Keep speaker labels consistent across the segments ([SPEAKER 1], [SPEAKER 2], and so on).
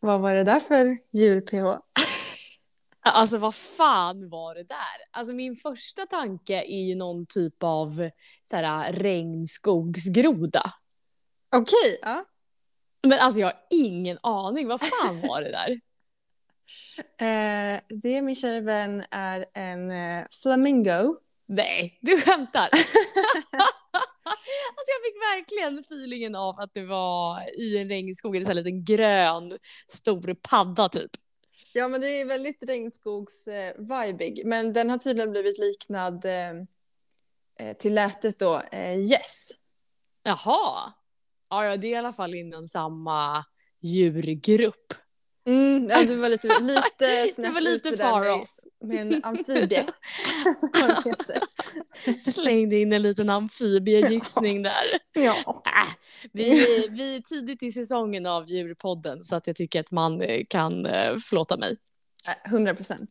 [SPEAKER 1] Vad var det där för djur-PH?
[SPEAKER 2] Alltså vad fan var det där? Alltså min första tanke är ju någon typ av så här, regnskogsgroda.
[SPEAKER 1] Okej, ja.
[SPEAKER 2] Men alltså jag har ingen aning, vad fan var det där?
[SPEAKER 1] Eh, det min kära vän är en eh, flamingo.
[SPEAKER 2] Nej, du skämtar! alltså jag fick verkligen feelingen av att det var i en regnskog, en sån här liten grön stor padda typ.
[SPEAKER 1] Ja, men det är väldigt regnskogs-vibig. men den har tydligen blivit liknad eh, eh, till lätet då, eh, yes.
[SPEAKER 2] Jaha! Ja, ja, det är i alla fall inom samma djurgrupp.
[SPEAKER 1] Mm, ja, du var lite, lite
[SPEAKER 2] Det
[SPEAKER 1] snett
[SPEAKER 2] var lite
[SPEAKER 1] ute där
[SPEAKER 2] far
[SPEAKER 1] med-
[SPEAKER 2] off.
[SPEAKER 1] Med en amfibie. Vad det heter.
[SPEAKER 2] Slängde in en liten amfibiegissning där.
[SPEAKER 1] ja.
[SPEAKER 2] Äh, vi, vi är tidigt i säsongen av Djurpodden så att jag tycker att man eh, kan eh, förlåta mig.
[SPEAKER 1] Eh, 100 procent.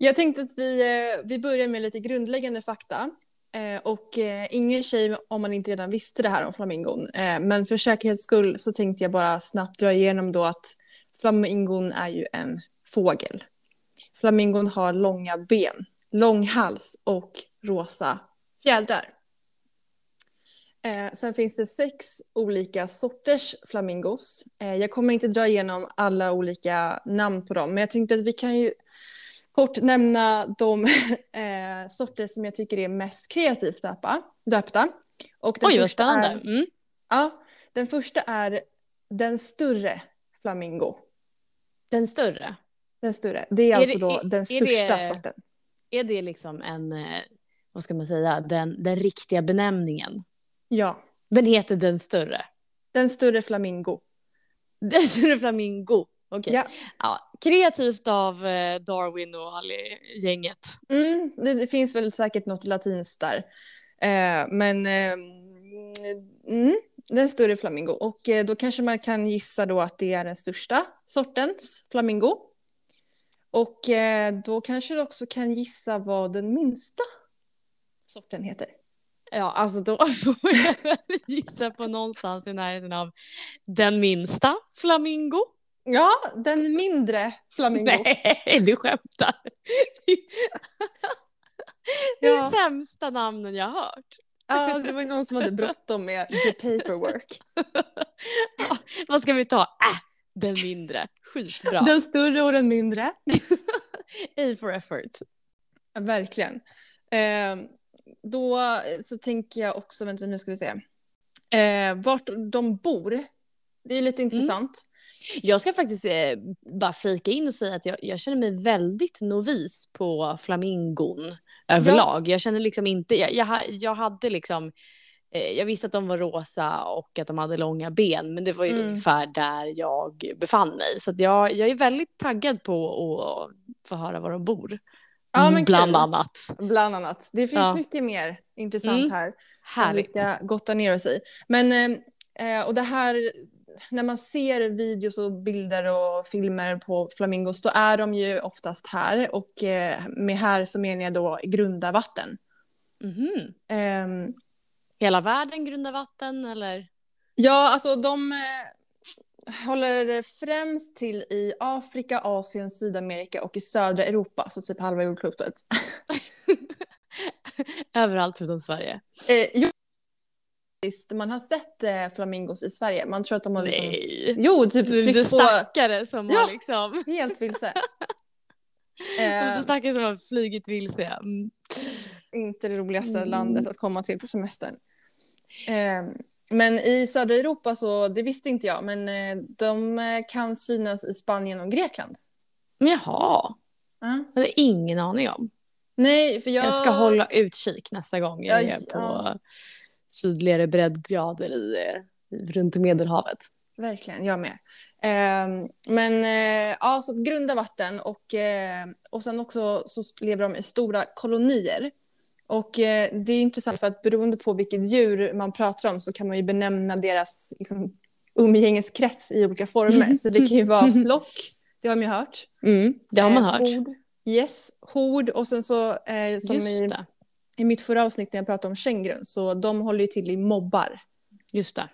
[SPEAKER 1] Jag tänkte att vi, eh, vi börjar med lite grundläggande fakta. Eh, Och eh, ingen tjej om man inte redan visste det här om flamingon. Eh, Men för säkerhets skull så tänkte jag bara snabbt dra igenom då att flamingon är ju en fågel. Flamingon har långa ben, lång hals och rosa fjädrar. Eh, Sen finns det sex olika sorters flamingos. Eh, Jag kommer inte dra igenom alla olika namn på dem, men jag tänkte att vi kan ju kort nämna de eh, sorter som jag tycker är mest kreativt döpa, döpta. Och den
[SPEAKER 2] Oj vad
[SPEAKER 1] första är-
[SPEAKER 2] spännande. Mm.
[SPEAKER 1] Ja, den första är den större flamingo.
[SPEAKER 2] Den större,
[SPEAKER 1] Den större. Det är,
[SPEAKER 2] Är
[SPEAKER 1] alltså
[SPEAKER 2] det-
[SPEAKER 1] då
[SPEAKER 2] är-
[SPEAKER 1] den
[SPEAKER 2] är
[SPEAKER 1] största
[SPEAKER 2] det-
[SPEAKER 1] sorten.
[SPEAKER 2] är det liksom en, eh, vad ska man säga, den, den riktiga benämningen?
[SPEAKER 1] Ja,
[SPEAKER 2] Den heter den större.
[SPEAKER 1] den större flamingo.
[SPEAKER 2] Den större flamingo. Okej.
[SPEAKER 1] Ja.
[SPEAKER 2] Ja, kreativt av eh, Darwin och Ali-gänget.
[SPEAKER 1] Mm, det, det finns väl säkert något latinskt där. Eh, men eh, mm, den större flamingo. Och eh, då kanske man kan gissa då att det är den största sortens flamingo. Och eh, då kanske du också kan gissa vad den minsta sorten heter.
[SPEAKER 2] Ja, alltså då får jag väl gissa på någonstans i närheten av den minsta flamingo.
[SPEAKER 1] Ja, den mindre flamingo.
[SPEAKER 2] Nej, du skämtar. Det är
[SPEAKER 1] Ja.
[SPEAKER 2] det sämsta namnen jag har hört.
[SPEAKER 1] Ja, det var någon som hade bråttom med the paperwork.
[SPEAKER 2] Vad ska vi ta? Äh, den mindre. Skitbra.
[SPEAKER 1] Den större och den mindre.
[SPEAKER 2] A for effort.
[SPEAKER 1] Ja, verkligen. Ehm, då så tänker jag också, vänta nu ska vi se. Eh, vart de bor, det är
[SPEAKER 2] Mm.
[SPEAKER 1] lite intressant.
[SPEAKER 2] Jag ska faktiskt eh, bara flika in och säga att jag, jag känner mig väldigt novis på flamingon överlag. Jag känner liksom inte, jag, jag, ha- jag hade liksom, eh, jag visste att de var rosa och att de hade långa ben, men det var ju
[SPEAKER 1] Mm.
[SPEAKER 2] ungefär där jag befann mig. Så att jag, jag är väldigt taggad på att få höra var de bor.
[SPEAKER 1] Ja, men
[SPEAKER 2] Mm, Bland
[SPEAKER 1] kul.
[SPEAKER 2] annat.
[SPEAKER 1] Bland annat. Det finns
[SPEAKER 2] Ja.
[SPEAKER 1] mycket mer intressant
[SPEAKER 2] Mm.
[SPEAKER 1] här som vi
[SPEAKER 2] Härligt.
[SPEAKER 1] ska gotta ner oss i. Men, eh, och det här, när man ser videos och bilder och filmer på flamingos, då är de ju oftast här och eh, med här så menar jag då grunda vatten.
[SPEAKER 2] Mhm.
[SPEAKER 1] Ehm,
[SPEAKER 2] Hela världen grundar vatten eller?
[SPEAKER 1] Ja, alltså de eh, håller främst till i Afrika, Asien, Sydamerika och i södra Europa, så typ halva jordklotet.
[SPEAKER 2] Överallt förutom Sverige.
[SPEAKER 1] Eh, jo, visst, man har sett eh, flamingos i Sverige. Man tror att de har liksom...
[SPEAKER 2] Nej.
[SPEAKER 1] Jo, typ
[SPEAKER 2] Lite
[SPEAKER 1] flytt på
[SPEAKER 2] stackare som
[SPEAKER 1] Ja.
[SPEAKER 2] har liksom
[SPEAKER 1] helt vilse.
[SPEAKER 2] Och
[SPEAKER 1] Eh,
[SPEAKER 2] Lite stackare som har flugit vilse. ja. Mm.
[SPEAKER 1] inte det roligaste
[SPEAKER 2] Mm.
[SPEAKER 1] landet att komma till på semestern. Eh, men i södra Europa så, det visste inte jag, men eh, de eh, kan synas i Spanien och Grekland.
[SPEAKER 2] Men jaha,
[SPEAKER 1] Ja.
[SPEAKER 2] det hade ingen aning om.
[SPEAKER 1] Nej, för jag...
[SPEAKER 2] Jag ska hålla utkik nästa gång jag
[SPEAKER 1] Ja,
[SPEAKER 2] är på
[SPEAKER 1] ja.
[SPEAKER 2] sydligare breddgrader i, eh, runt Medelhavet.
[SPEAKER 1] Verkligen, jag med. Ehm, men eh, ja, så att grunda vatten och, eh, och sen också så lever de i stora kolonier. Och eh, det är intressant för att beroende på vilket djur man pratar om så kan man ju benämna deras liksom, umgängeskrets i olika former. Så det kan ju vara flock, det har man ju hört.
[SPEAKER 2] Mm, det har man
[SPEAKER 1] Eh,
[SPEAKER 2] hört.
[SPEAKER 1] Hord, yes, hord och sen så eh, som
[SPEAKER 2] Just
[SPEAKER 1] i,
[SPEAKER 2] det.
[SPEAKER 1] i mitt förra avsnitt när jag pratade om kängurun så de håller ju till i mobbar.
[SPEAKER 2] Just det.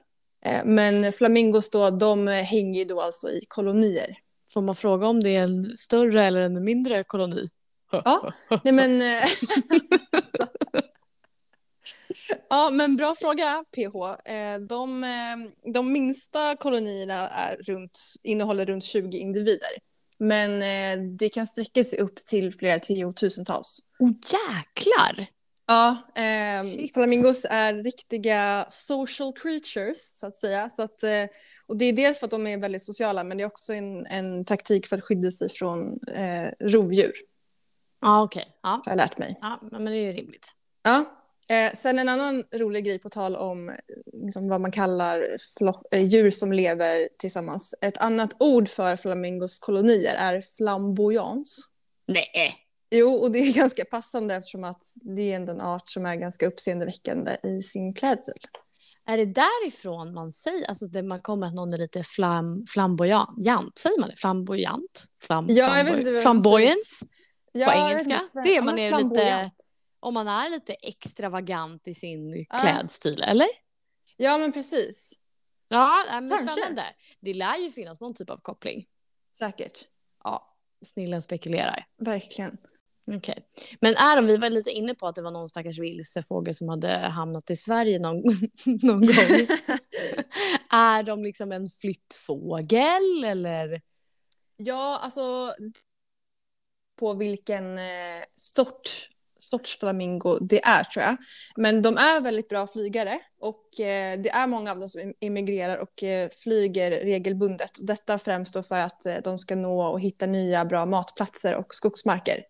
[SPEAKER 1] Eh, men flamingos då, de hänger ju då alltså i kolonier.
[SPEAKER 2] Får man fråga om det är en större eller en mindre koloni?
[SPEAKER 1] Ja. Nej men... eh, ja men bra fråga PH. Eh, De, eh, de minsta kolonierna är runt, innehåller runt 20 individer. Men eh, det kan sträcka sig upp till flera tiotusentals.
[SPEAKER 2] Oh, jäklar!
[SPEAKER 1] Ja, ehm,
[SPEAKER 2] Shit.
[SPEAKER 1] flamingos är riktiga social creatures så att säga. Så att, eh, och det är dels för att de är väldigt sociala men det är också en, en taktik för att skydda sig från eh, rovdjur
[SPEAKER 2] Ja, okej. Ja.
[SPEAKER 1] har jag lärt mig.
[SPEAKER 2] ja, men det är ju rimligt.
[SPEAKER 1] Ja. Eh, sen en annan rolig grej på tal om eh, liksom, vad man kallar flo- eh, djur som lever tillsammans. Ett annat ord för flamingos kolonier är flamboyans.
[SPEAKER 2] Nej.
[SPEAKER 1] Jo, och det är ganska passande eftersom att det är ändå en art som är ganska uppseendeväckande i sin klädsel.
[SPEAKER 2] Är det därifrån man säger, alltså det man kommer att någon är lite flam, flamboyant? Säger man det? Flamboyant? Flam,
[SPEAKER 1] Ja, jag vet inte vad man
[SPEAKER 2] flamboyance?
[SPEAKER 1] Ja,
[SPEAKER 2] På
[SPEAKER 1] jag vet
[SPEAKER 2] engelska?
[SPEAKER 1] inte,
[SPEAKER 2] Det är
[SPEAKER 1] ja,
[SPEAKER 2] man
[SPEAKER 1] men
[SPEAKER 2] är lite-
[SPEAKER 1] flamboyant.
[SPEAKER 2] Om man är lite extravagant i sin
[SPEAKER 1] Ja.
[SPEAKER 2] klädstil, eller?
[SPEAKER 1] Ja, men precis.
[SPEAKER 2] Ja, nej, men
[SPEAKER 1] Kanske.
[SPEAKER 2] spännande. Det lär ju finnas någon typ av koppling.
[SPEAKER 1] Säkert.
[SPEAKER 2] Ja, snillen spekulerar.
[SPEAKER 1] Verkligen.
[SPEAKER 2] Okej. Men Aron, vi var lite inne på att det var någon stackars vilsefågel som hade hamnat i Sverige någon, någon gång. är de liksom en flyttfågel eller?
[SPEAKER 1] ja, alltså på vilken eh, sort, sorts flamingo det är tror jag. Men de är väldigt bra flygare och eh, det är många av dem som em- emigrerar och eh, flyger regelbundet. Detta främst då för att eh, de ska nå och hitta nya bra matplatser och skogsmarker.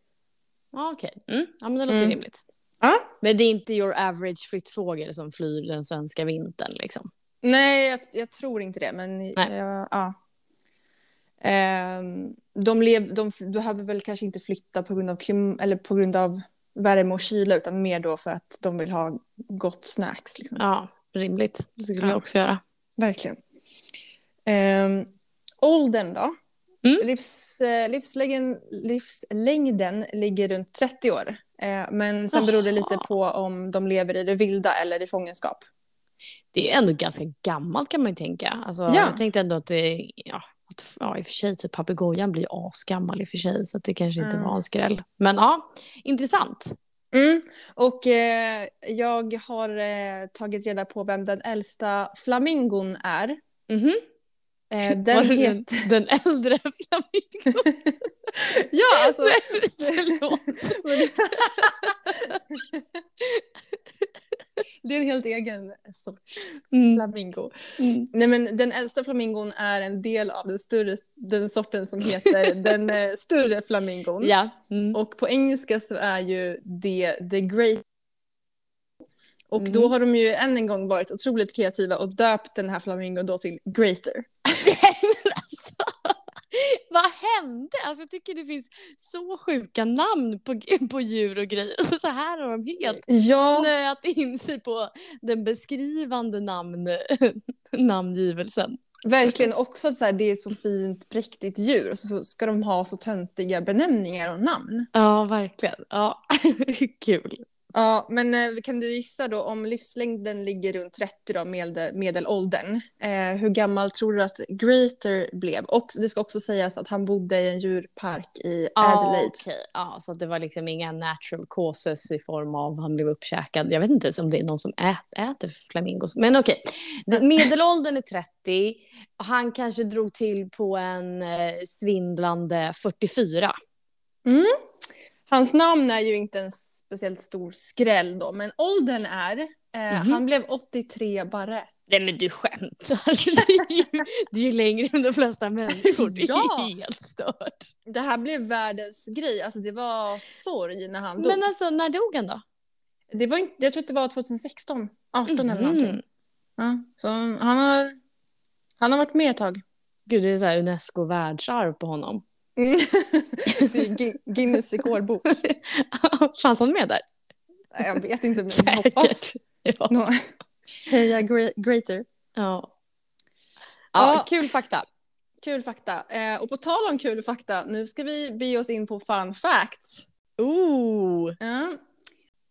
[SPEAKER 2] Ja, okej. Mm. Ja, men det låter
[SPEAKER 1] Mm.
[SPEAKER 2] rimligt.
[SPEAKER 1] Ja.
[SPEAKER 2] Men det är inte your average flyttfågel som flyr den svenska vintern liksom.
[SPEAKER 1] Nej, jag, jag tror inte det. Men
[SPEAKER 2] Nej.
[SPEAKER 1] jag- ja. Ehm, de, lev, de f- behöver väl kanske inte flytta på grund av, klim, eller på grund av värme och kyla utan mer då för att de vill ha gott snacks. Liksom.
[SPEAKER 2] Ja, rimligt. Det skulle
[SPEAKER 1] Ja.
[SPEAKER 2] jag också göra.
[SPEAKER 1] Verkligen. Um, åldern då?
[SPEAKER 2] Mm.
[SPEAKER 1] Livs, eh, livslägen, livslängden ligger runt 30 år. Eh, men sen beror det lite
[SPEAKER 2] Jaha.
[SPEAKER 1] på om de lever i det vilda eller i fångenskap.
[SPEAKER 2] Det är ändå ganska gammalt kan man ju tänka. Alltså,
[SPEAKER 1] Ja.
[SPEAKER 2] Jag tänkte ändå att det, ja, att, ja i och för sig, typ papegojan blir asgammal i och för sig, så att det kanske inte
[SPEAKER 1] Mm.
[SPEAKER 2] var en skräll. Men ja, intressant.
[SPEAKER 1] Mm. Och eh, jag har eh, tagit reda på vem den äldsta flamingon är.
[SPEAKER 2] Mhm.
[SPEAKER 1] Eh,
[SPEAKER 2] Var
[SPEAKER 1] den
[SPEAKER 2] det
[SPEAKER 1] heter...
[SPEAKER 2] den, den äldre flamingon?
[SPEAKER 1] Ja, alltså!
[SPEAKER 2] Förlåt.
[SPEAKER 1] det är en helt egen sorts
[SPEAKER 2] Mm.
[SPEAKER 1] flamingo.
[SPEAKER 2] Mm.
[SPEAKER 1] Nej, men den äldsta flamingon är en del av den, större, den sorten som heter den eh, större flamingon.
[SPEAKER 2] Ja. Mm.
[SPEAKER 1] Och på engelska så är ju det the great. Och då
[SPEAKER 2] Mhm.
[SPEAKER 1] har de ju än en gång varit otroligt kreativa och döpt den här flamingon då till greater.
[SPEAKER 2] Nej, men alltså, vad hände? Alltså, jag tycker det finns så sjuka namn på, på djur och grejer. Alltså, så här har de helt
[SPEAKER 1] Ja,
[SPEAKER 2] snöat in sig på den beskrivande namn, namngivelsen.
[SPEAKER 1] verkligen också att så här, det är så fint präktigt djur och så ska de ha så töntiga benämningar och namn.
[SPEAKER 2] Ja, verkligen. Ja, kul.
[SPEAKER 1] Ja, men eh, kan du gissa då om livslängden ligger runt 30 då, med, medelåldern. Eh, hur gammal tror du att Greater blev? Och det ska också sägas att han bodde i en djurpark i Adelaide.
[SPEAKER 2] Ja, okej. ja, så att det var liksom inga natural causes i form av han blev uppkäkad. Jag vet inte ens om det är någon som ät, äter flamingos. Men okej, Den- medelåldern är 30. Han kanske drog till på en eh, svindlande 44.
[SPEAKER 1] Hans namn är ju inte en speciellt stor skräll då, men åldern är... Eh,
[SPEAKER 2] Mhm.
[SPEAKER 1] Han blev 83 bara.
[SPEAKER 2] Nej men du skämtar. Det är ju, det är ju längre än de flesta människor. Det är
[SPEAKER 1] Ja.
[SPEAKER 2] helt stört.
[SPEAKER 1] Det här blev världens grej. Alltså det var sorg när han dog.
[SPEAKER 2] Men alltså när dog han då?
[SPEAKER 1] Det var inte, jag tror att det var 2016, 18 eller
[SPEAKER 2] Mhm.
[SPEAKER 1] någonting. Ja, så han har, han har varit med ett tag.
[SPEAKER 2] Gud det är så här Unesco världsarv på honom.
[SPEAKER 1] det är Gu- Guinness rekordbok.
[SPEAKER 2] Fanns han med där?
[SPEAKER 1] Jag vet inte, men
[SPEAKER 2] Mm,
[SPEAKER 1] jag hoppas.
[SPEAKER 2] Säkert. Ja.
[SPEAKER 1] Nå- Heja Gre- Greater.
[SPEAKER 2] Ja.
[SPEAKER 1] Ja.
[SPEAKER 2] ja, kul fakta.
[SPEAKER 1] Kul fakta. Eh, och på tal om kul fakta, nu ska vi bege oss in på fun facts.
[SPEAKER 2] Ooh.
[SPEAKER 1] Ja.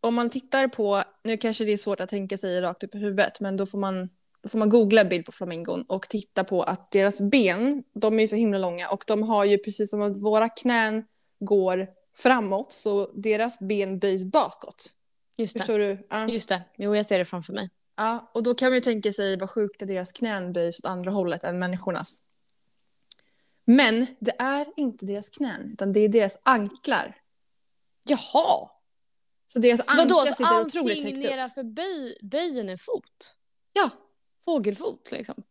[SPEAKER 1] Om man tittar på, nu kanske det är svårt att tänka sig rakt upp i huvudet, men då får man, då får man googla bild på flamingon och titta på att deras ben, de är ju så himla långa och de har ju precis som att våra knän går framåt så deras ben böjs bakåt.
[SPEAKER 2] Just det.
[SPEAKER 1] Förstår du? Ja.
[SPEAKER 2] Just det. Jo, jag ser det framför mig.
[SPEAKER 1] Ja, och då kan man ju tänka sig vad sjukt att deras knän böjs åt andra hållet än människornas. Men det är inte deras knän, utan det är deras anklar.
[SPEAKER 2] Jaha!
[SPEAKER 1] Så deras anklar
[SPEAKER 2] Vadå, så
[SPEAKER 1] sitter otroligt
[SPEAKER 2] allting
[SPEAKER 1] högt upp.
[SPEAKER 2] nedanför böj, böjen är fot?
[SPEAKER 1] Ja.
[SPEAKER 2] Fågelfot liksom.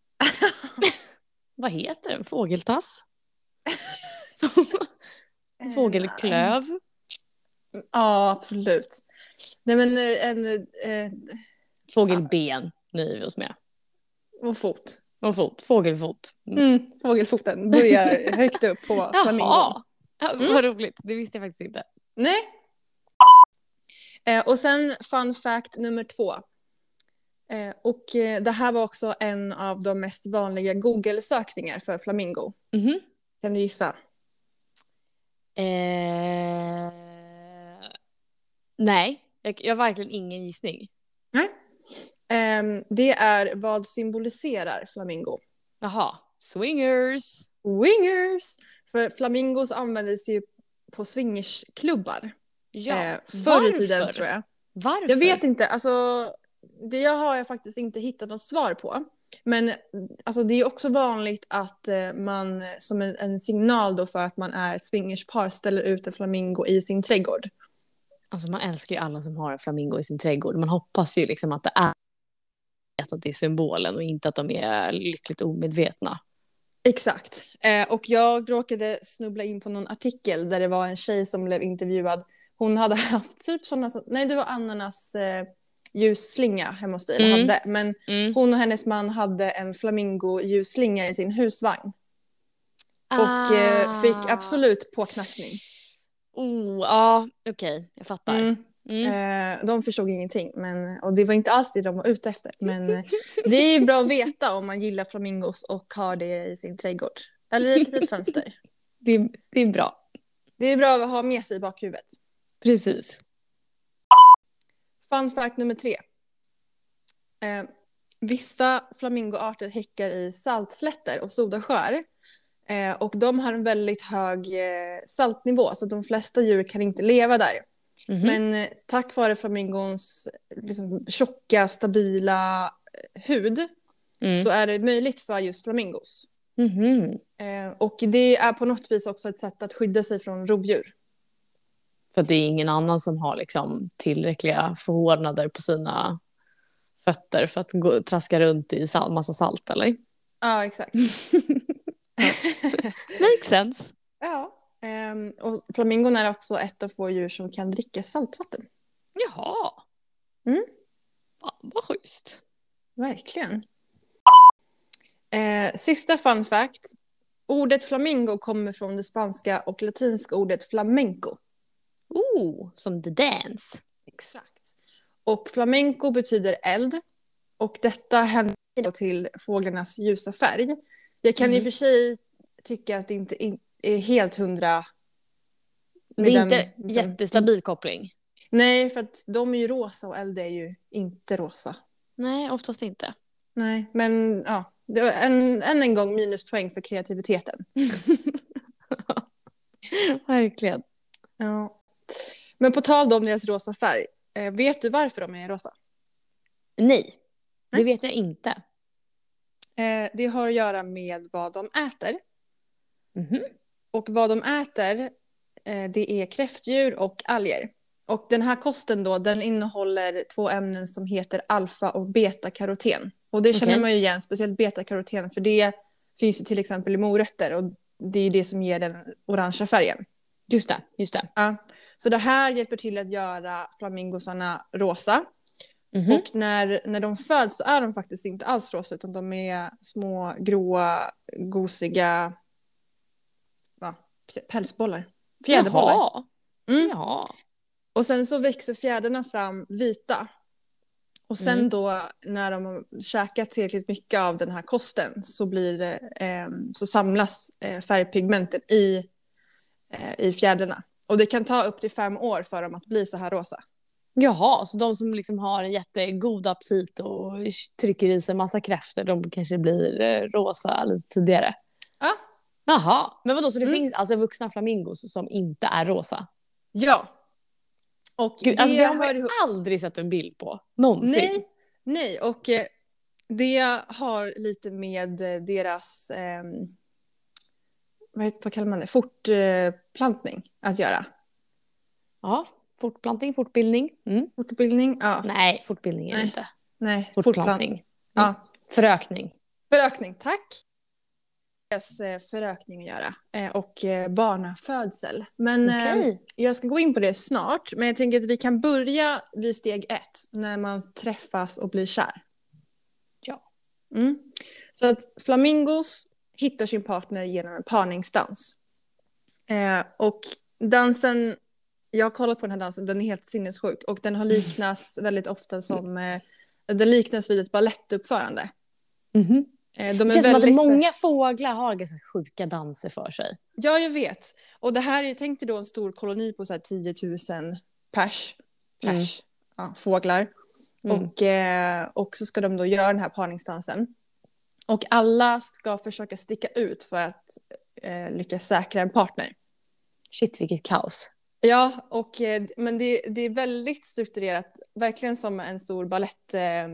[SPEAKER 2] Vad heter den? Fågeltass? Fågelklöv?
[SPEAKER 1] Eh, Ja, absolut. Nej, men eh, en... Eh,
[SPEAKER 2] Fågelben nöjer vi oss med.
[SPEAKER 1] och fot.
[SPEAKER 2] Och fot, fågelfot. Mm.
[SPEAKER 1] Mm, fågelfoten börjar högt upp på flamingon.
[SPEAKER 2] Jaha! Ja,
[SPEAKER 1] Mm.
[SPEAKER 2] vad roligt, det visste jag faktiskt inte.
[SPEAKER 1] Nej. Eh, och sen fun fact nummer två. Eh, och eh, det här var också en av de mest vanliga Google-sökningar för flamingo.
[SPEAKER 2] Mhm.
[SPEAKER 1] Kan du gissa?
[SPEAKER 2] Eh... Nej, jag, jag har verkligen ingen gissning.
[SPEAKER 1] Ehm, det är vad symboliserar flamingo?
[SPEAKER 2] Jaha, swingers.
[SPEAKER 1] Wingers! För flamingos användes ju på swingersklubbar
[SPEAKER 2] Ja,
[SPEAKER 1] eh, förr i tiden tror jag.
[SPEAKER 2] Varför?
[SPEAKER 1] Jag vet inte, alltså det har jag faktiskt inte hittat något svar på. Men alltså, det är ju också vanligt att eh, man som en, en signal då för att man är ett swingerspar ställer ut en flamingo i sin trädgård.
[SPEAKER 2] Alltså man älskar ju alla som har en flamingo i sin trädgård. Man hoppas ju liksom att det är att det är symbolen och inte att de är lyckligt omedvetna.
[SPEAKER 1] Exakt. Eh, och jag råkade snubbla in på någon artikel där det var en tjej som blev intervjuad. Hon hade haft typ sådana, nej det var ananas eh, ljusslinga hemma hos dig, eller
[SPEAKER 2] Mm.
[SPEAKER 1] hade, men
[SPEAKER 2] Mm.
[SPEAKER 1] hon och hennes man hade en flamingo ljusslinga i sin husvagn.
[SPEAKER 2] Ah.
[SPEAKER 1] Och eh, fick absolut påknackning.
[SPEAKER 2] Oh, ja, okej, jag fattar. Mm.
[SPEAKER 1] Mm. Eh, de förstod ingenting. Men, och det var inte alls det de var ute efter. Men eh, det är ju bra att veta om man gillar flamingos och har det i sin trädgård. Eller i ett litet fönster.
[SPEAKER 2] Det, är- det är bra.
[SPEAKER 1] Det är bra att ha med sig i bakhuvudet.
[SPEAKER 2] Precis.
[SPEAKER 1] Fun fact nummer tre. Eh, vissa flamingoarter häckar i saltslätter och sodasjöar. Eh, och de har en väldigt hög eh, saltnivå så att de flesta djur kan inte leva där.
[SPEAKER 2] Mhm.
[SPEAKER 1] Men eh, tack vare flamingons liksom, tjocka, stabila eh, hud
[SPEAKER 2] Mm.
[SPEAKER 1] så är det möjligt för just flamingos.
[SPEAKER 2] Mhm.
[SPEAKER 1] Eh, och det är på något vis också ett sätt att skydda sig från rovdjur.
[SPEAKER 2] För att det är ingen annan som har liksom tillräckliga förhårdnader på sina fötter för att gå, traska runt i sal, massa salt, eller?
[SPEAKER 1] Ja, exakt.
[SPEAKER 2] Makes sense.
[SPEAKER 1] ja. Ehm, och flamingon är också ett av få djur som kan dricka saltvatten.
[SPEAKER 2] Jaha.
[SPEAKER 1] Mm.
[SPEAKER 2] Fan, vad schysst.
[SPEAKER 1] Verkligen. Eh, sista fun fact. Ordet flamingo kommer från det spanska och latinska ordet flamenco.
[SPEAKER 2] Oh, som the dance.
[SPEAKER 1] Exakt. Och flamenco betyder eld. Och detta hände då till fåglarnas ljusa färg. Jag kan i och
[SPEAKER 2] Mm.
[SPEAKER 1] för sig tycka att det inte in- är helt hundra.
[SPEAKER 2] Det
[SPEAKER 1] med
[SPEAKER 2] är
[SPEAKER 1] den,
[SPEAKER 2] inte
[SPEAKER 1] liksom-
[SPEAKER 2] jättestabil koppling.
[SPEAKER 1] Nej, för att de är ju rosa och eld är ju inte rosa.
[SPEAKER 2] Nej, oftast inte.
[SPEAKER 1] Nej, men ja. Det var en, än en gång minuspoäng för kreativiteten.
[SPEAKER 2] Verkligen.
[SPEAKER 1] Ja. Men på tal om deras rosa färg. eh, Vet du varför de är rosa?
[SPEAKER 2] Nej,
[SPEAKER 1] Nej.
[SPEAKER 2] det vet jag inte.
[SPEAKER 1] Eh, Det har att göra med vad de äter.
[SPEAKER 2] Mhm.
[SPEAKER 1] Och vad de äter, eh, det är kräftdjur och alger. Och den här kosten då, den innehåller två ämnen som heter alfa och betakaroten. Och det känner
[SPEAKER 2] Okej.
[SPEAKER 1] man ju igen, speciellt betakaroten, för det finns ju till exempel i morötter och det är ju det som ger den orangea färgen.
[SPEAKER 2] Just det, just det.
[SPEAKER 1] Ja. Så det här hjälper till att göra flamingosarna rosa.
[SPEAKER 2] Mhm.
[SPEAKER 1] Och när, när de föds så är de faktiskt inte alls rosa utan de är små gråa, gosiga va, p- pälsbollar. Fjäderbollar.
[SPEAKER 2] Jaha.
[SPEAKER 1] Mm.
[SPEAKER 2] Jaha.
[SPEAKER 1] Och sen så växer fjädrarna fram vita. Och sen
[SPEAKER 2] Mm.
[SPEAKER 1] då när de har käkat tillräckligt mycket av den här kosten så, blir det, ehm, så samlas eh, färgpigmenten i, eh, i fjädrarna. Och det kan ta upp till fem år för dem att bli så här rosa.
[SPEAKER 2] Jaha, så de som liksom har en jättegod aptit och trycker i sig massa kräftor, de kanske blir eh, rosa lite tidigare.
[SPEAKER 1] Ja.
[SPEAKER 2] Jaha, men vadå, så det
[SPEAKER 1] Mm.
[SPEAKER 2] finns alltså vuxna flamingos som inte är rosa?
[SPEAKER 1] Ja. Och
[SPEAKER 2] Gud, alltså det har man
[SPEAKER 1] hör
[SPEAKER 2] ju
[SPEAKER 1] ihop-
[SPEAKER 2] aldrig sett en bild på, någonsin.
[SPEAKER 1] Nej, nej. och eh, det har lite med eh, deras, eh, vad, heter, vad kallar man det, fortplantning att göra.
[SPEAKER 2] Ja, fortplantning, fortbildning. Mm.
[SPEAKER 1] Fortbildning? Ja. Nej,
[SPEAKER 2] Nej, fortbildning är det
[SPEAKER 1] Nej.
[SPEAKER 2] inte.
[SPEAKER 1] fortplantning.
[SPEAKER 2] Fortplantning.
[SPEAKER 1] Ja.
[SPEAKER 2] Förökning.
[SPEAKER 1] Förökning, tack. Deras eh, förökning att göra eh, och eh, barnafödsel. Men eh,
[SPEAKER 2] Okej.
[SPEAKER 1] jag ska gå in på det snart, men jag tänker att vi kan börja vid steg ett, när man träffas och blir kär.
[SPEAKER 2] Ja.
[SPEAKER 1] Mm. Så att flamingos hittar sin partner genom en parningsdans. Eh, och dansen, jag har kollat på den här dansen, den är helt sinnessjuk och den har liknas väldigt ofta som, eh, den liknas vid ett balettuppförande.
[SPEAKER 2] Mhm.
[SPEAKER 1] Eh, de är
[SPEAKER 2] Det känns som att
[SPEAKER 1] väldigt...
[SPEAKER 2] många fåglar har ganska sjuka danser för sig.
[SPEAKER 1] Ja, jag vet. Och det här är ju, tänk dig då en stor koloni på så här 10 000 pers,
[SPEAKER 2] Mm.
[SPEAKER 1] pers ja, fåglar.
[SPEAKER 2] Mm.
[SPEAKER 1] Och, eh, och så ska de då göra den här parningsdansen. Och alla ska försöka sticka ut för att eh, lyckas säkra en partner.
[SPEAKER 2] Shit, vilket kaos.
[SPEAKER 1] Ja, och, eh, men det, det är väldigt strukturerat, verkligen som en stor ballett, eh,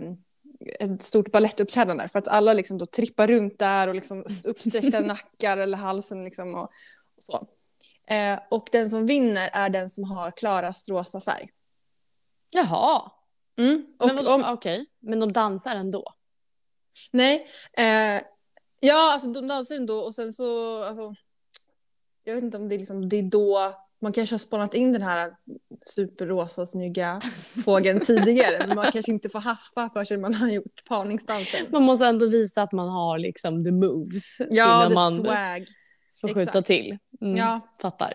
[SPEAKER 1] ett stort balettuppträdande. För att alla liksom då trippar runt där och liksom uppsträckta nackar eller halsen. Liksom och, och, så. Eh, och den som vinner är den som har klarast rosa färg. Mm,
[SPEAKER 2] Jaha.
[SPEAKER 1] Och
[SPEAKER 2] men, vadå?
[SPEAKER 1] om,
[SPEAKER 2] Okej, men de dansar ändå?
[SPEAKER 1] Nej. Eh, ja, alltså de dansar ändå och sen så... Alltså, jag vet inte om det är, liksom, det är då man kanske har spanat in den här superrosa snygga fågeln tidigare. Men man kanske inte får haffa förrän man har gjort parningsdansen.
[SPEAKER 2] Man måste ändå visa att man har liksom the moves
[SPEAKER 1] Ja,
[SPEAKER 2] innan
[SPEAKER 1] the
[SPEAKER 2] man
[SPEAKER 1] swag.
[SPEAKER 2] får skjuta
[SPEAKER 1] exakt.
[SPEAKER 2] till. Mm,
[SPEAKER 1] Ja,
[SPEAKER 2] Fattar.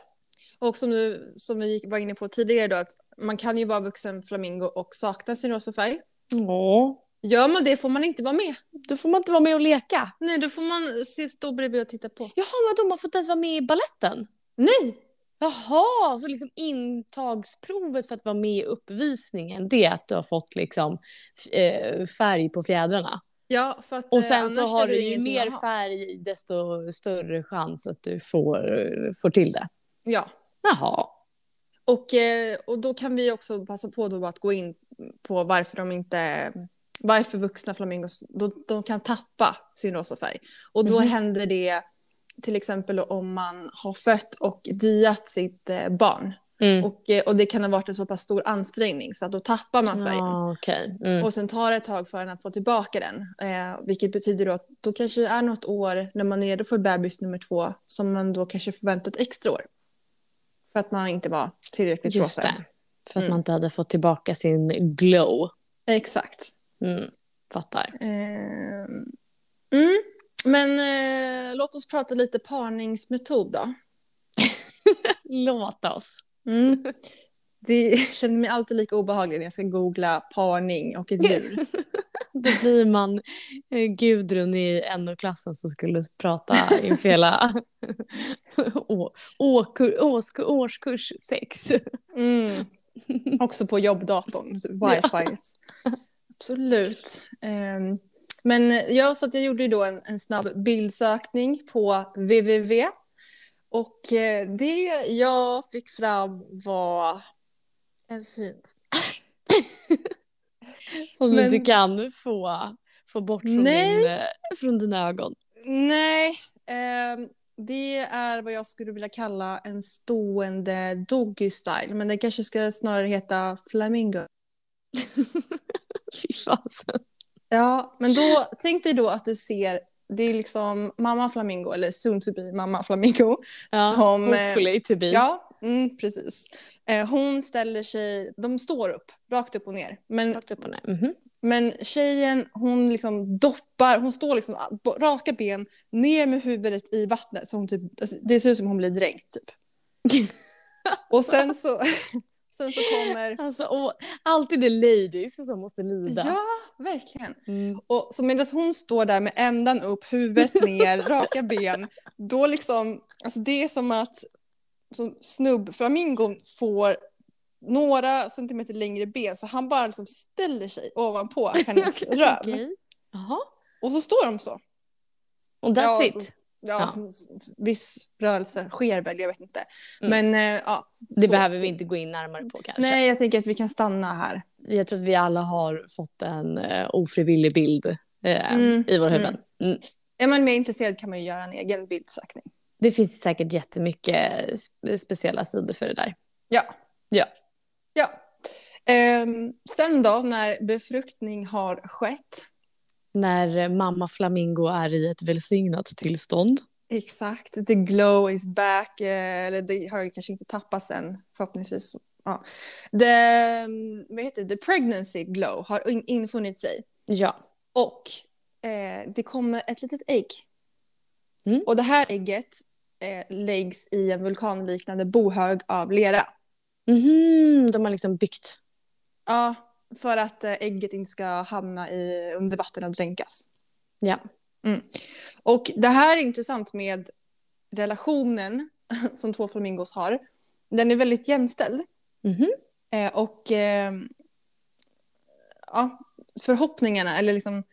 [SPEAKER 1] och som, du, som vi gick- var inne på tidigare då, att man kan ju vara vuxen flamingo och sakna sin rosa färg.
[SPEAKER 2] Ja,
[SPEAKER 1] Gör man det får man inte vara med.
[SPEAKER 2] då får man inte vara med och leka.
[SPEAKER 1] Nej, då får man se- stå bredvid och titta på.
[SPEAKER 2] Jaha, men de har fått ens vara med i balletten?
[SPEAKER 1] Nej!
[SPEAKER 2] Jaha, så liksom intagsprovet för att vara med i uppvisningen det är att du har fått liksom f- eh, färg på fjädrarna.
[SPEAKER 1] Ja, för att, eh,
[SPEAKER 2] Och sen så
[SPEAKER 1] annars
[SPEAKER 2] har
[SPEAKER 1] är det
[SPEAKER 2] du ju
[SPEAKER 1] ingenting
[SPEAKER 2] mer
[SPEAKER 1] att ha.
[SPEAKER 2] färg desto större chans att du får, får till det.
[SPEAKER 1] Ja.
[SPEAKER 2] Jaha.
[SPEAKER 1] Och, eh, och då kan vi också passa på då att gå in på varför de inte varför vuxna flamingos då, de kan tappa sin rosa färg. Och då
[SPEAKER 2] Mhm.
[SPEAKER 1] händer det till exempel om man har fött och diat sitt eh, barn.
[SPEAKER 2] Mm.
[SPEAKER 1] Och, eh, och det kan ha varit en så pass stor ansträngning så att då tappar man färgen.
[SPEAKER 2] Ah, okej. Mm.
[SPEAKER 1] Och sen tar det ett tag för en att få tillbaka den. Eh, vilket betyder då att då kanske det är något år när man är redo för bebis nummer två som man då kanske förväntat extra år. För att man inte var tillräckligt
[SPEAKER 2] Just
[SPEAKER 1] rosa.
[SPEAKER 2] det. För att
[SPEAKER 1] Mm.
[SPEAKER 2] man inte hade fått tillbaka sin glow.
[SPEAKER 1] Exakt.
[SPEAKER 2] Mm. Fattar.
[SPEAKER 1] Eh, mm. Men eh, låt oss prata lite parningsmetod då.
[SPEAKER 2] Låt oss.
[SPEAKER 1] Mm. Det jag känner mig alltid lika obehaglig när jag ska googla parning och ett djur.
[SPEAKER 2] Då blir man eh, Gudrun i NO-klassen som skulle prata inför hela å, åkur, åsku, årskurs sex.
[SPEAKER 1] Mm. Också på jobbdatorn, wifi. Absolut. Ehm, men jag, så att jag gjorde ju då en, en snabb bildsökning på www. Och eh, det jag fick fram var en syn.
[SPEAKER 2] Som du
[SPEAKER 1] Men-
[SPEAKER 2] inte kan få, få bort från,
[SPEAKER 1] Nej.
[SPEAKER 2] din, eh, från dina ögon.
[SPEAKER 1] Nej, ehm, det är vad jag skulle vilja kalla en stående doggy style. Men det kanske ska snarare heta flamingo.
[SPEAKER 2] Fy fasen.
[SPEAKER 1] Ja, men då tänk dig då att du ser, det är liksom mamma flamingo eller soon to be mamma flamingo.
[SPEAKER 2] Ja,
[SPEAKER 1] Som, eh,
[SPEAKER 2] hopefully to be.
[SPEAKER 1] Ja, mm, precis. Eh, hon ställer sig, de står upp, rakt upp och ner. Men,
[SPEAKER 2] Rakt upp och ner. Mhm.
[SPEAKER 1] men tjejen, hon liksom doppar, hon står liksom a- på raka ben, ner med huvudet i vattnet. Så hon typ, alltså, det ser ut som hon blir dränkt typ. Och sen så, Sen så kommer...
[SPEAKER 2] Alltså, och alltid det ladies som måste lida.
[SPEAKER 1] Ja, verkligen.
[SPEAKER 2] Mm.
[SPEAKER 1] Och så medan hon står där med ändan upp, huvudet ner, raka ben, då liksom, alltså det är som att som snubbflamingon får några centimeter längre ben, så han bara liksom ställer sig ovanpå hennes röv.
[SPEAKER 2] Okej. Jaha.
[SPEAKER 1] Och så står de så.
[SPEAKER 2] Och that's
[SPEAKER 1] Ja,
[SPEAKER 2] it.
[SPEAKER 1] Ja,
[SPEAKER 2] Ja.
[SPEAKER 1] Så, så- viss rörelse sker väl, jag vet inte.
[SPEAKER 2] Mm.
[SPEAKER 1] Men eh, ja.
[SPEAKER 2] Det
[SPEAKER 1] så-
[SPEAKER 2] behöver vi inte gå in närmare på kanske.
[SPEAKER 1] Nej, jag tänker att vi kan stanna här.
[SPEAKER 2] Jag tror att vi alla har fått en eh, ofrivillig bild eh,
[SPEAKER 1] Mm.
[SPEAKER 2] i våra huvuden. Mm.
[SPEAKER 1] Är man mer intresserad kan man ju göra en egen bildsökning.
[SPEAKER 2] Det finns säkert jättemycket spe- speciella sidor för det där.
[SPEAKER 1] Ja.
[SPEAKER 2] Ja.
[SPEAKER 1] ja. Ehm, sen då, när befruktning har skett.
[SPEAKER 2] När eh, mamma Flamingo är i ett välsignat tillstånd.
[SPEAKER 1] Exakt, the glow is back. eh, Eller det har kanske inte tappats än, förhoppningsvis. Ja. The, mm, vad heter det? the pregnancy glow har in- infunnit sig.
[SPEAKER 2] Ja.
[SPEAKER 1] Och eh, det kommer ett litet ägg.
[SPEAKER 2] Mm.
[SPEAKER 1] Och det här ägget eh, läggs i en vulkanliknande bohög av lera.
[SPEAKER 2] Mhm, de har liksom byggt.
[SPEAKER 1] Ja, för att eh, ägget inte ska hamna i, under vatten och dränkas.
[SPEAKER 2] Ja.
[SPEAKER 1] Mm. Och det här är intressant med relationen som två flamingos har. Den är väldigt jämställd.
[SPEAKER 2] Mhm.
[SPEAKER 1] Eh, och eh, ja, förhoppningarna, eller liksom...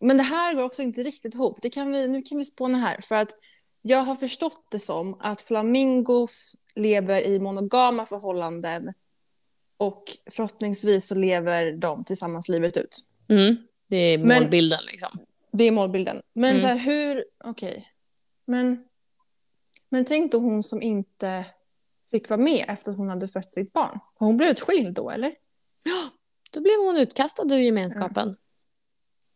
[SPEAKER 1] Men det här går också inte riktigt ihop. Det kan vi, nu kan vi spåna här. För att jag har förstått det som att flamingos lever i monogama förhållanden och förhoppningsvis så lever de tillsammans livet ut.
[SPEAKER 2] Mm. Det är
[SPEAKER 1] Men-
[SPEAKER 2] målbilden liksom.
[SPEAKER 1] Det är målbilden. Men
[SPEAKER 2] Mm.
[SPEAKER 1] så här, hur... Okej. Men, men tänk då hon som inte fick vara med efter att hon hade fött sitt barn. Hon blev utskild då, eller?
[SPEAKER 2] Då blev hon utkastad ur gemenskapen.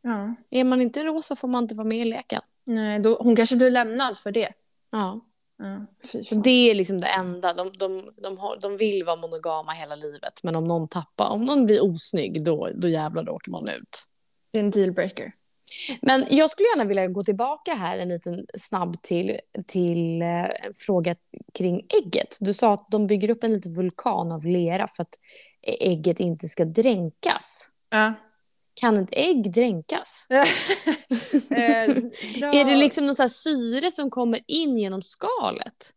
[SPEAKER 1] Ja.
[SPEAKER 2] Är man inte rosa får man inte vara med i leken.
[SPEAKER 1] Nej, då, hon kanske blev lämnad för det.
[SPEAKER 2] Ja.
[SPEAKER 1] Ja, fy
[SPEAKER 2] Så
[SPEAKER 1] fan.
[SPEAKER 2] det är liksom det enda. De, de, de, har, de vill vara monogama hela livet. Men om någon tappar, om någon blir osnygg, då, då jävlar då åker man ut.
[SPEAKER 1] Det är en dealbreaker.
[SPEAKER 2] Men jag skulle gärna vilja gå tillbaka här en liten snabb till, till eh, en fråga kring ägget. Du sa att de bygger upp en liten vulkan av lera för att ägget inte ska dränkas.
[SPEAKER 1] Ja. Eh,
[SPEAKER 2] Kan ett ägg dränkas?
[SPEAKER 1] bra,
[SPEAKER 2] Är det liksom någon så här syre som kommer in genom skalet?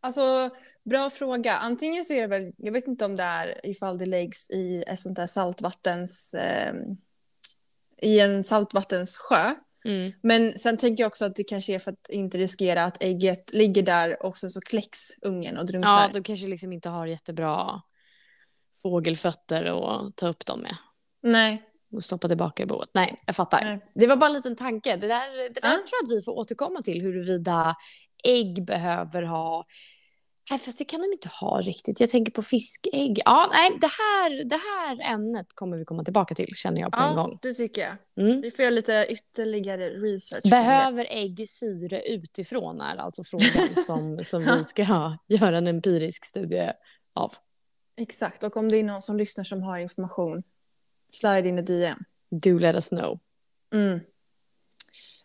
[SPEAKER 1] alltså, bra fråga. Antingen så är det väl, jag vet inte om det är ifall det läggs i ett sånt där saltvattens, eh, i en saltvattenssjö.
[SPEAKER 2] Mm.
[SPEAKER 1] Men sen tänker jag också att det kanske är för att inte riskera att ägget ligger där och sen så kläcks ungen och drunknar.
[SPEAKER 2] Ja, de kanske liksom inte har jättebra fågelfötter att ta upp dem med
[SPEAKER 1] Nej.
[SPEAKER 2] och stoppa tillbaka i boet. Nej, jag fattar.
[SPEAKER 1] Nej.
[SPEAKER 2] Det var bara en liten tanke. Det där, det där
[SPEAKER 1] Ja.
[SPEAKER 2] tror jag att vi får återkomma till huruvida ägg behöver ha Nej, fast det kan de inte ha riktigt. Jag tänker på fiskägg. Ja, nej, det här, det här ämnet kommer vi komma tillbaka till, känner jag på en
[SPEAKER 1] Ja,
[SPEAKER 2] gång.
[SPEAKER 1] det tycker jag.
[SPEAKER 2] Mm.
[SPEAKER 1] Vi får göra lite ytterligare research. kring det.
[SPEAKER 2] Behöver ägg syre utifrån är alltså frågan som, som vi ska göra en empirisk studie av.
[SPEAKER 1] Exakt, och om det är någon som lyssnar som har information, slide in i DM.
[SPEAKER 2] Do let us know.
[SPEAKER 1] Mm.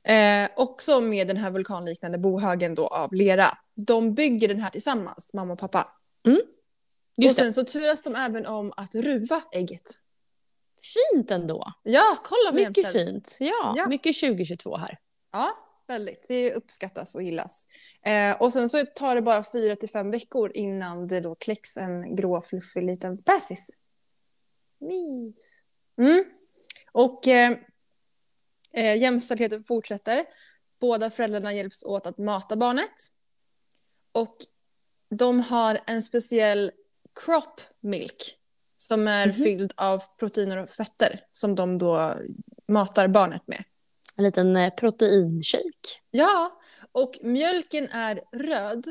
[SPEAKER 1] Eh, också med den här vulkanliknande bohögen då av lera. De bygger den här tillsammans, mamma och pappa.
[SPEAKER 2] Just
[SPEAKER 1] och sen så turas de även om att ruva ägget.
[SPEAKER 2] det. Fint ändå.
[SPEAKER 1] Ja, kolla vad
[SPEAKER 2] Mycket
[SPEAKER 1] jämställt.
[SPEAKER 2] fint. Ja,
[SPEAKER 1] Ja.
[SPEAKER 2] mycket 2022 här.
[SPEAKER 1] Ja, väldigt. Det uppskattas och gillas. Eh, och sen så tar det bara fyra till fem veckor innan det då kläcks en grå fluffig liten bäsis.
[SPEAKER 2] Mys.
[SPEAKER 1] Mm. Och eh, eh, jämställdheten fortsätter. Båda föräldrarna hjälps åt att mata barnet. Och de har en speciell crop milk som är
[SPEAKER 2] Mhm.
[SPEAKER 1] fylld av proteiner och fetter som de då matar barnet med.
[SPEAKER 2] En liten eh, proteinshake.
[SPEAKER 1] Ja, och mjölken är röd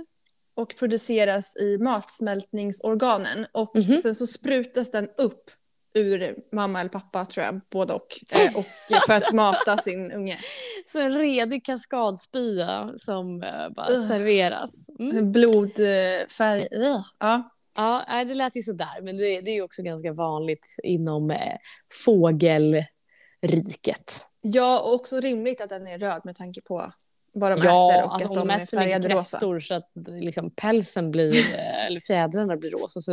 [SPEAKER 1] och produceras i matsmältningsorganen. Och
[SPEAKER 2] Mhm.
[SPEAKER 1] sen så sprutas den upp ur mamma eller pappa, tror jag, både och. eh, och för att mata sin unge.
[SPEAKER 2] Så en redig kaskadspya som eh, bara
[SPEAKER 1] Ugh.
[SPEAKER 2] serveras. Mm.
[SPEAKER 1] Blodfärg. Ugh. Ja.
[SPEAKER 2] Ja, nej, det lät ju sådär, men det, det är ju också ganska vanligt inom eh, fågelriket.
[SPEAKER 1] ja, och också rimligt att den är röd med tanke på vad de
[SPEAKER 2] ja,
[SPEAKER 1] äter och
[SPEAKER 2] alltså,
[SPEAKER 1] att de är
[SPEAKER 2] äter så mycket
[SPEAKER 1] färgade rosa.
[SPEAKER 2] kräftor så att liksom, pälsen blir, eh, eller fjädrarna blir rosa så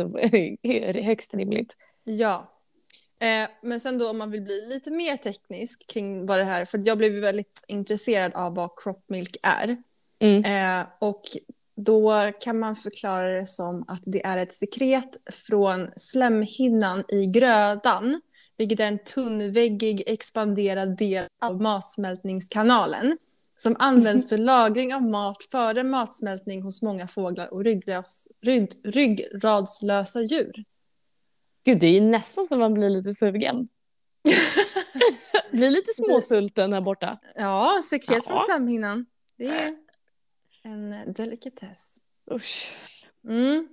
[SPEAKER 2] är det högst rimligt.
[SPEAKER 1] Ja. Eh, men sen då om man vill bli lite mer teknisk kring vad det här, för jag blev ju väldigt intresserad av vad crop milk är.
[SPEAKER 2] Mm.
[SPEAKER 1] Eh, och då kan man förklara det som att det är ett sekret från slemhinnan i grödan, vilket är en tunnväggig expanderad del av matsmältningskanalen som används för lagring av mat före matsmältning hos många fåglar och ryggrads, rygg, ryggradslösa djur.
[SPEAKER 2] Gud, det är ju nästan som man blir lite sugen. blir lite småsulten här borta.
[SPEAKER 1] Ja, sekret
[SPEAKER 2] Ja.
[SPEAKER 1] från slemhinnan. Det är en delikatess.
[SPEAKER 2] Usch.
[SPEAKER 1] Mm.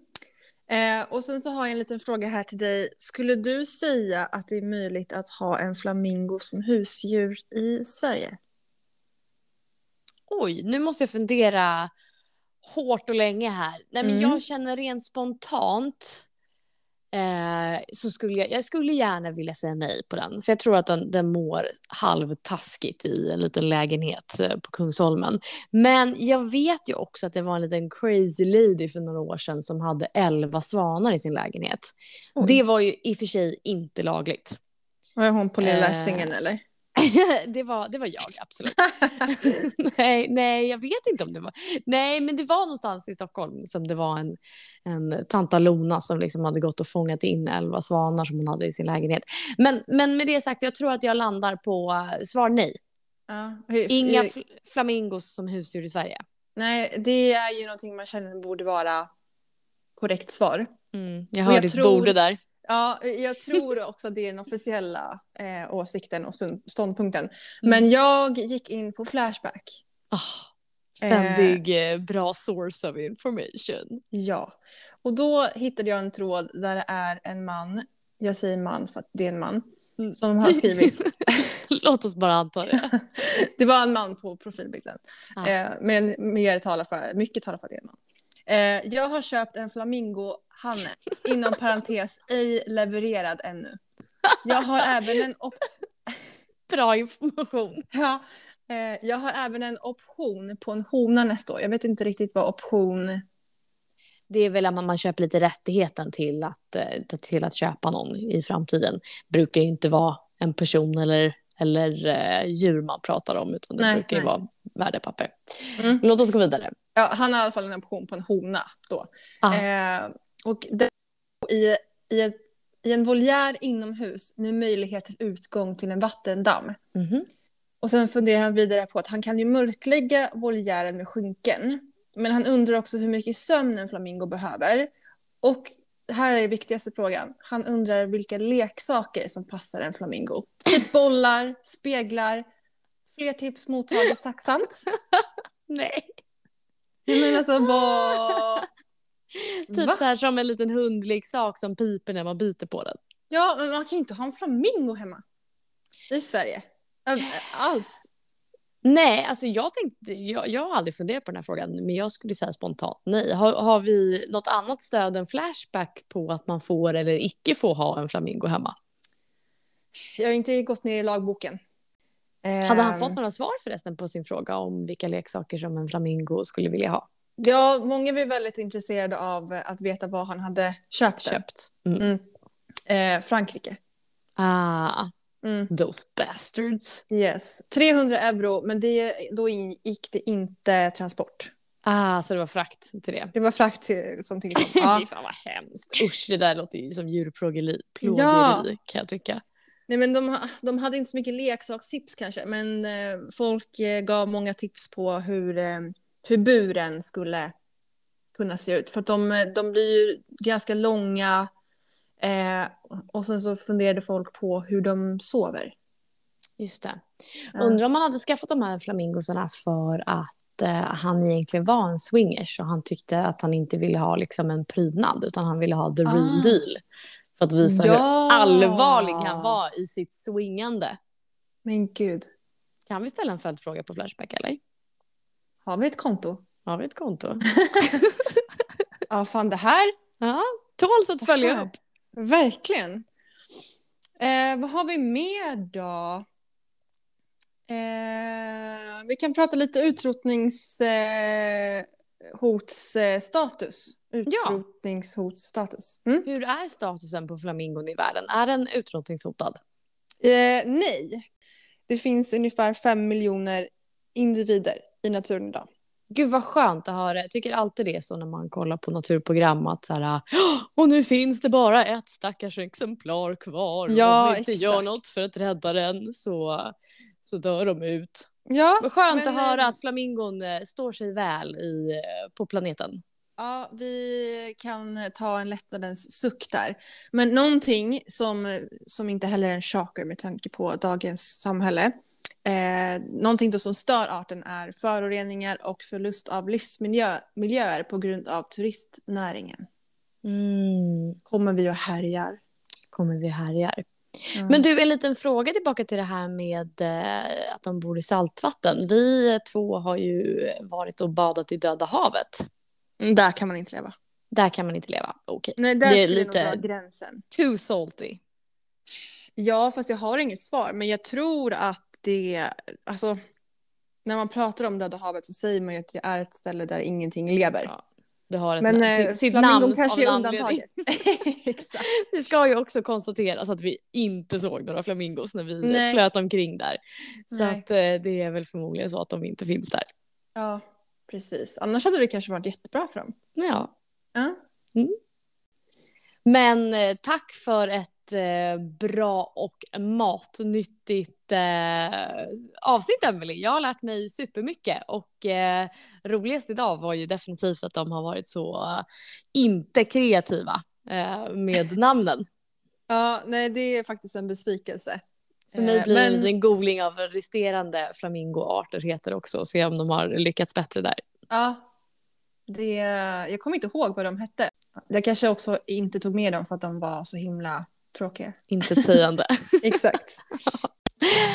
[SPEAKER 1] Eh, och sen så har jag en liten fråga här till dig. Skulle du säga att det är möjligt att ha en flamingo som husdjur i Sverige?
[SPEAKER 2] Oj, nu måste jag fundera hårt och länge här. Nej, men
[SPEAKER 1] Mm.
[SPEAKER 2] Jag känner rent spontant eh, så skulle jag, jag skulle gärna vilja säga nej på den. För jag tror att den, den mår halvtaskigt i en liten lägenhet eh, på Kungsholmen. Men jag vet ju också att det var en liten crazy lady för några år sedan som hade elva svanar i sin lägenhet.
[SPEAKER 1] Oj.
[SPEAKER 2] Det var ju i och för sig inte lagligt.
[SPEAKER 1] Var hon på Lilla
[SPEAKER 2] Eh.
[SPEAKER 1] Essingen eller?
[SPEAKER 2] det, var, det var jag, absolut. nej, nej, jag vet inte om det var... Nej, men det var någonstans i Stockholm som det var en, en tanta Lona som liksom hade gått och fångat in elva svanar som hon hade i sin lägenhet. Men, men med det sagt, jag tror att jag landar på eh, svar nej.
[SPEAKER 1] Ja. hur-
[SPEAKER 2] Inga
[SPEAKER 1] hur-
[SPEAKER 2] fl- flamingos som husdjur i Sverige.
[SPEAKER 1] Nej, det är ju någonting man känner borde vara korrekt svar.
[SPEAKER 2] Mm, jag
[SPEAKER 1] Och
[SPEAKER 2] hör
[SPEAKER 1] jag
[SPEAKER 2] ditt
[SPEAKER 1] tror-
[SPEAKER 2] borde där.
[SPEAKER 1] Ja, jag tror också att det är den officiella eh, åsikten och stund-
[SPEAKER 2] Mm.
[SPEAKER 1] ståndpunkten. Men jag gick in på Flashback.
[SPEAKER 2] Ah, ständig eh, bra source of information.
[SPEAKER 1] Ja, och då hittade jag en tråd där det är en man, jag säger man för att det är en man,
[SPEAKER 2] Mm.
[SPEAKER 1] som har skrivit,
[SPEAKER 2] Låt oss bara anta det.
[SPEAKER 1] det var en man på profilbilden,
[SPEAKER 2] Ah.
[SPEAKER 1] eh, men mer talar för, mycket talar för att det är en man. Eh, jag har köpt en flamingohanne, inom parentes, ej levererad ännu. Jag har även en, op-
[SPEAKER 2] Bra information.
[SPEAKER 1] ja, eh, jag har även en option på en hona nästa år. Jag vet inte riktigt vad option
[SPEAKER 2] det är väl att man, man köper lite rättigheten till att, eh, till att köpa någon i framtiden. brukar ju inte vara en person eller, eller eh, djur man pratar om, utan det
[SPEAKER 1] Nej,
[SPEAKER 2] brukar ju
[SPEAKER 1] nej.
[SPEAKER 2] vara värdepapper.
[SPEAKER 1] Mm.
[SPEAKER 2] Låt oss gå vidare.
[SPEAKER 1] Ja, han har i alla fall en option på en hona då.
[SPEAKER 2] Ah.
[SPEAKER 1] Eh, och det, i, i, ett- I en voljär inomhus med möjlighet till utgång till en vattendamm.
[SPEAKER 2] Mhm.
[SPEAKER 1] Och sen funderar han vidare på att han kan ju mörklägga voljären med skynken. Men han undrar också hur mycket sömn en flamingo behöver. Och här är den viktigaste frågan. Han undrar vilka leksaker som passar en flamingo. Typ bollar, speglar. Fler tips mottages tacksamt.
[SPEAKER 2] Nej.
[SPEAKER 1] Jag menar alltså vad...
[SPEAKER 2] Typ
[SPEAKER 1] Va?
[SPEAKER 2] så här som en liten hundleksak som piper när man biter på den.
[SPEAKER 1] Ja, men man kan ju inte ha en flamingo hemma. I Sverige. Ö- Alls.
[SPEAKER 2] Nej, alltså jag, tänkte, jag, jag har aldrig funderat på den här frågan, men jag skulle säga spontant nej. Har, har vi något annat stöd än Flashback på att man får eller icke får ha en flamingo hemma?
[SPEAKER 1] Jag har inte gått ner i lagboken.
[SPEAKER 2] Hade han
[SPEAKER 1] Ehm,
[SPEAKER 2] fått några svar förresten på sin fråga om vilka leksaker som en flamingo skulle vilja ha
[SPEAKER 1] Ja, många blev väldigt intresserade av eh, att veta vad han hade köpt. den.
[SPEAKER 2] köpt? Mm.
[SPEAKER 1] Eh, Frankrike.
[SPEAKER 2] Ah,
[SPEAKER 1] Mm.
[SPEAKER 2] those bastards.
[SPEAKER 1] Yes. 300 euro, men det, då in- gick det inte transport.
[SPEAKER 2] Ah, så det var frakt till det.
[SPEAKER 1] Det var frakt till, som tillkom.
[SPEAKER 2] Fy
[SPEAKER 1] Ja.
[SPEAKER 2] fan vad hemskt. Usch, det där låter ju som djurplågeri plågeri,
[SPEAKER 1] Ja.
[SPEAKER 2] kan jag tycka.
[SPEAKER 1] Nej, men de, ha- de hade inte så mycket leksakstips kanske, men eh, folk eh, gav många tips på hur, eh, hur buren skulle kunna se ut. För att de, eh, de blir ju ganska långa eh, och sen så funderade folk på hur de sover.
[SPEAKER 2] Just det.
[SPEAKER 1] Ja.
[SPEAKER 2] Undrar om han hade skaffat de här flamingosarna för att eh, han egentligen var en swingers och han tyckte att han inte ville ha liksom, en prydnad utan han ville ha the real
[SPEAKER 1] Ah.
[SPEAKER 2] deal. För att visa hur
[SPEAKER 1] Ja.
[SPEAKER 2] allvarlig han var i sitt swingande.
[SPEAKER 1] Men gud,
[SPEAKER 2] Kan vi ställa en följdfråga på Flashback eller?
[SPEAKER 1] har vi ett konto?
[SPEAKER 2] Har vi ett konto?
[SPEAKER 1] Ja, fan det här,
[SPEAKER 2] Ja, tåls att följa
[SPEAKER 1] Här.
[SPEAKER 2] upp.
[SPEAKER 1] verkligen. Eh, vad har vi mer då? Eh, vi kan prata lite eh, utrotningshotsstatus. Utrotningshotsstatus. Mm.
[SPEAKER 2] Hur är statusen på flamingon i världen? Är den utrotningshotad?
[SPEAKER 1] Eh, nej, det finns ungefär fem miljoner individer i naturen idag.
[SPEAKER 2] Gud vad skönt att höra. Jag tycker alltid det är så när man kollar på naturprogram att så här, "Åh, och nu finns det bara ett stackars exemplar kvar.
[SPEAKER 1] Ja,
[SPEAKER 2] Om vi inte gör
[SPEAKER 1] exakt.
[SPEAKER 2] något för att rädda den så, så dör de ut.
[SPEAKER 1] Ja,
[SPEAKER 2] Vad skönt
[SPEAKER 1] Men,
[SPEAKER 2] att höra
[SPEAKER 1] eh,
[SPEAKER 2] att flamingon eh, står sig väl i, eh, på planeten.
[SPEAKER 1] Ja, vi kan ta en lättnadens suck där. Men någonting som, som inte heller är en shocker med tanke på dagens samhälle. Eh, någonting då som stör arten är föroreningar och förlust av livsmiljöer på grund av turistnäringen.
[SPEAKER 2] Mm,
[SPEAKER 1] Kommer vi och härjar.
[SPEAKER 2] kommer vi härjar.
[SPEAKER 1] Mm.
[SPEAKER 2] Men du, en liten fråga tillbaka till det här med eh, att de bor i saltvatten. Vi två har ju varit och badat i Döda havet.
[SPEAKER 1] Mm, där kan man inte leva.
[SPEAKER 2] Där kan man inte leva. Okej.
[SPEAKER 1] Nej, där
[SPEAKER 2] Det är
[SPEAKER 1] skulle
[SPEAKER 2] lite-
[SPEAKER 1] jag nog dra gränsen.
[SPEAKER 2] Too salty.
[SPEAKER 1] Ja, fast jag har inget svar. Men jag tror att det, alltså, när man pratar om Döda havet så säger man ju att det är ett ställe där ingenting lever.
[SPEAKER 2] Ja, Det har ett
[SPEAKER 1] Men
[SPEAKER 2] namn.
[SPEAKER 1] eh,
[SPEAKER 2] Sitt, sitt
[SPEAKER 1] flamingon
[SPEAKER 2] namn
[SPEAKER 1] kanske
[SPEAKER 2] av
[SPEAKER 1] är
[SPEAKER 2] en anledning.
[SPEAKER 1] undantaget. Exakt.
[SPEAKER 2] Det ska ju också konstateras att vi inte såg några flamingos när vi
[SPEAKER 1] Nej.
[SPEAKER 2] flöt omkring där. Så
[SPEAKER 1] Nej.
[SPEAKER 2] att, eh, det är väl förmodligen så att de inte finns där.
[SPEAKER 1] Ja, precis. Annars hade det kanske varit jättebra för dem.
[SPEAKER 2] Ja.
[SPEAKER 1] Ja.
[SPEAKER 2] Mm. Men eh, tack för ett eh, bra och matnyttigt eh, avsnitt Emily. Jag har lärt mig supermycket och eh, roligast idag var ju definitivt att de har varit så eh, inte kreativa eh, med namnen.
[SPEAKER 1] Ja, nej, det är faktiskt en besvikelse.
[SPEAKER 2] För mig
[SPEAKER 1] Eh,
[SPEAKER 2] blir det en
[SPEAKER 1] men-
[SPEAKER 2] liten googling av vad resterande flamingoarter heter också och se om de har lyckats bättre där.
[SPEAKER 1] Ja, det, jag kommer inte ihåg vad de hette. Jag kanske också inte tog med dem för att de var så himla tråkiga.
[SPEAKER 2] Inte sägande.
[SPEAKER 1] Exakt.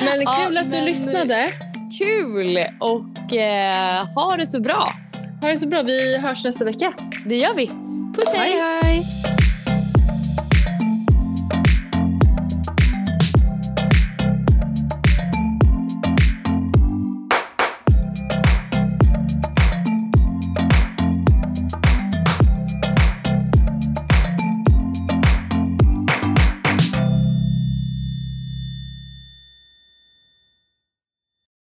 [SPEAKER 1] Men kul
[SPEAKER 2] Ja,
[SPEAKER 1] att du
[SPEAKER 2] men-
[SPEAKER 1] lyssnade.
[SPEAKER 2] Kul! Och eh, ha det så bra.
[SPEAKER 1] Ha det så bra. Vi hörs nästa vecka.
[SPEAKER 2] Det gör vi. Puss hej!
[SPEAKER 1] hej!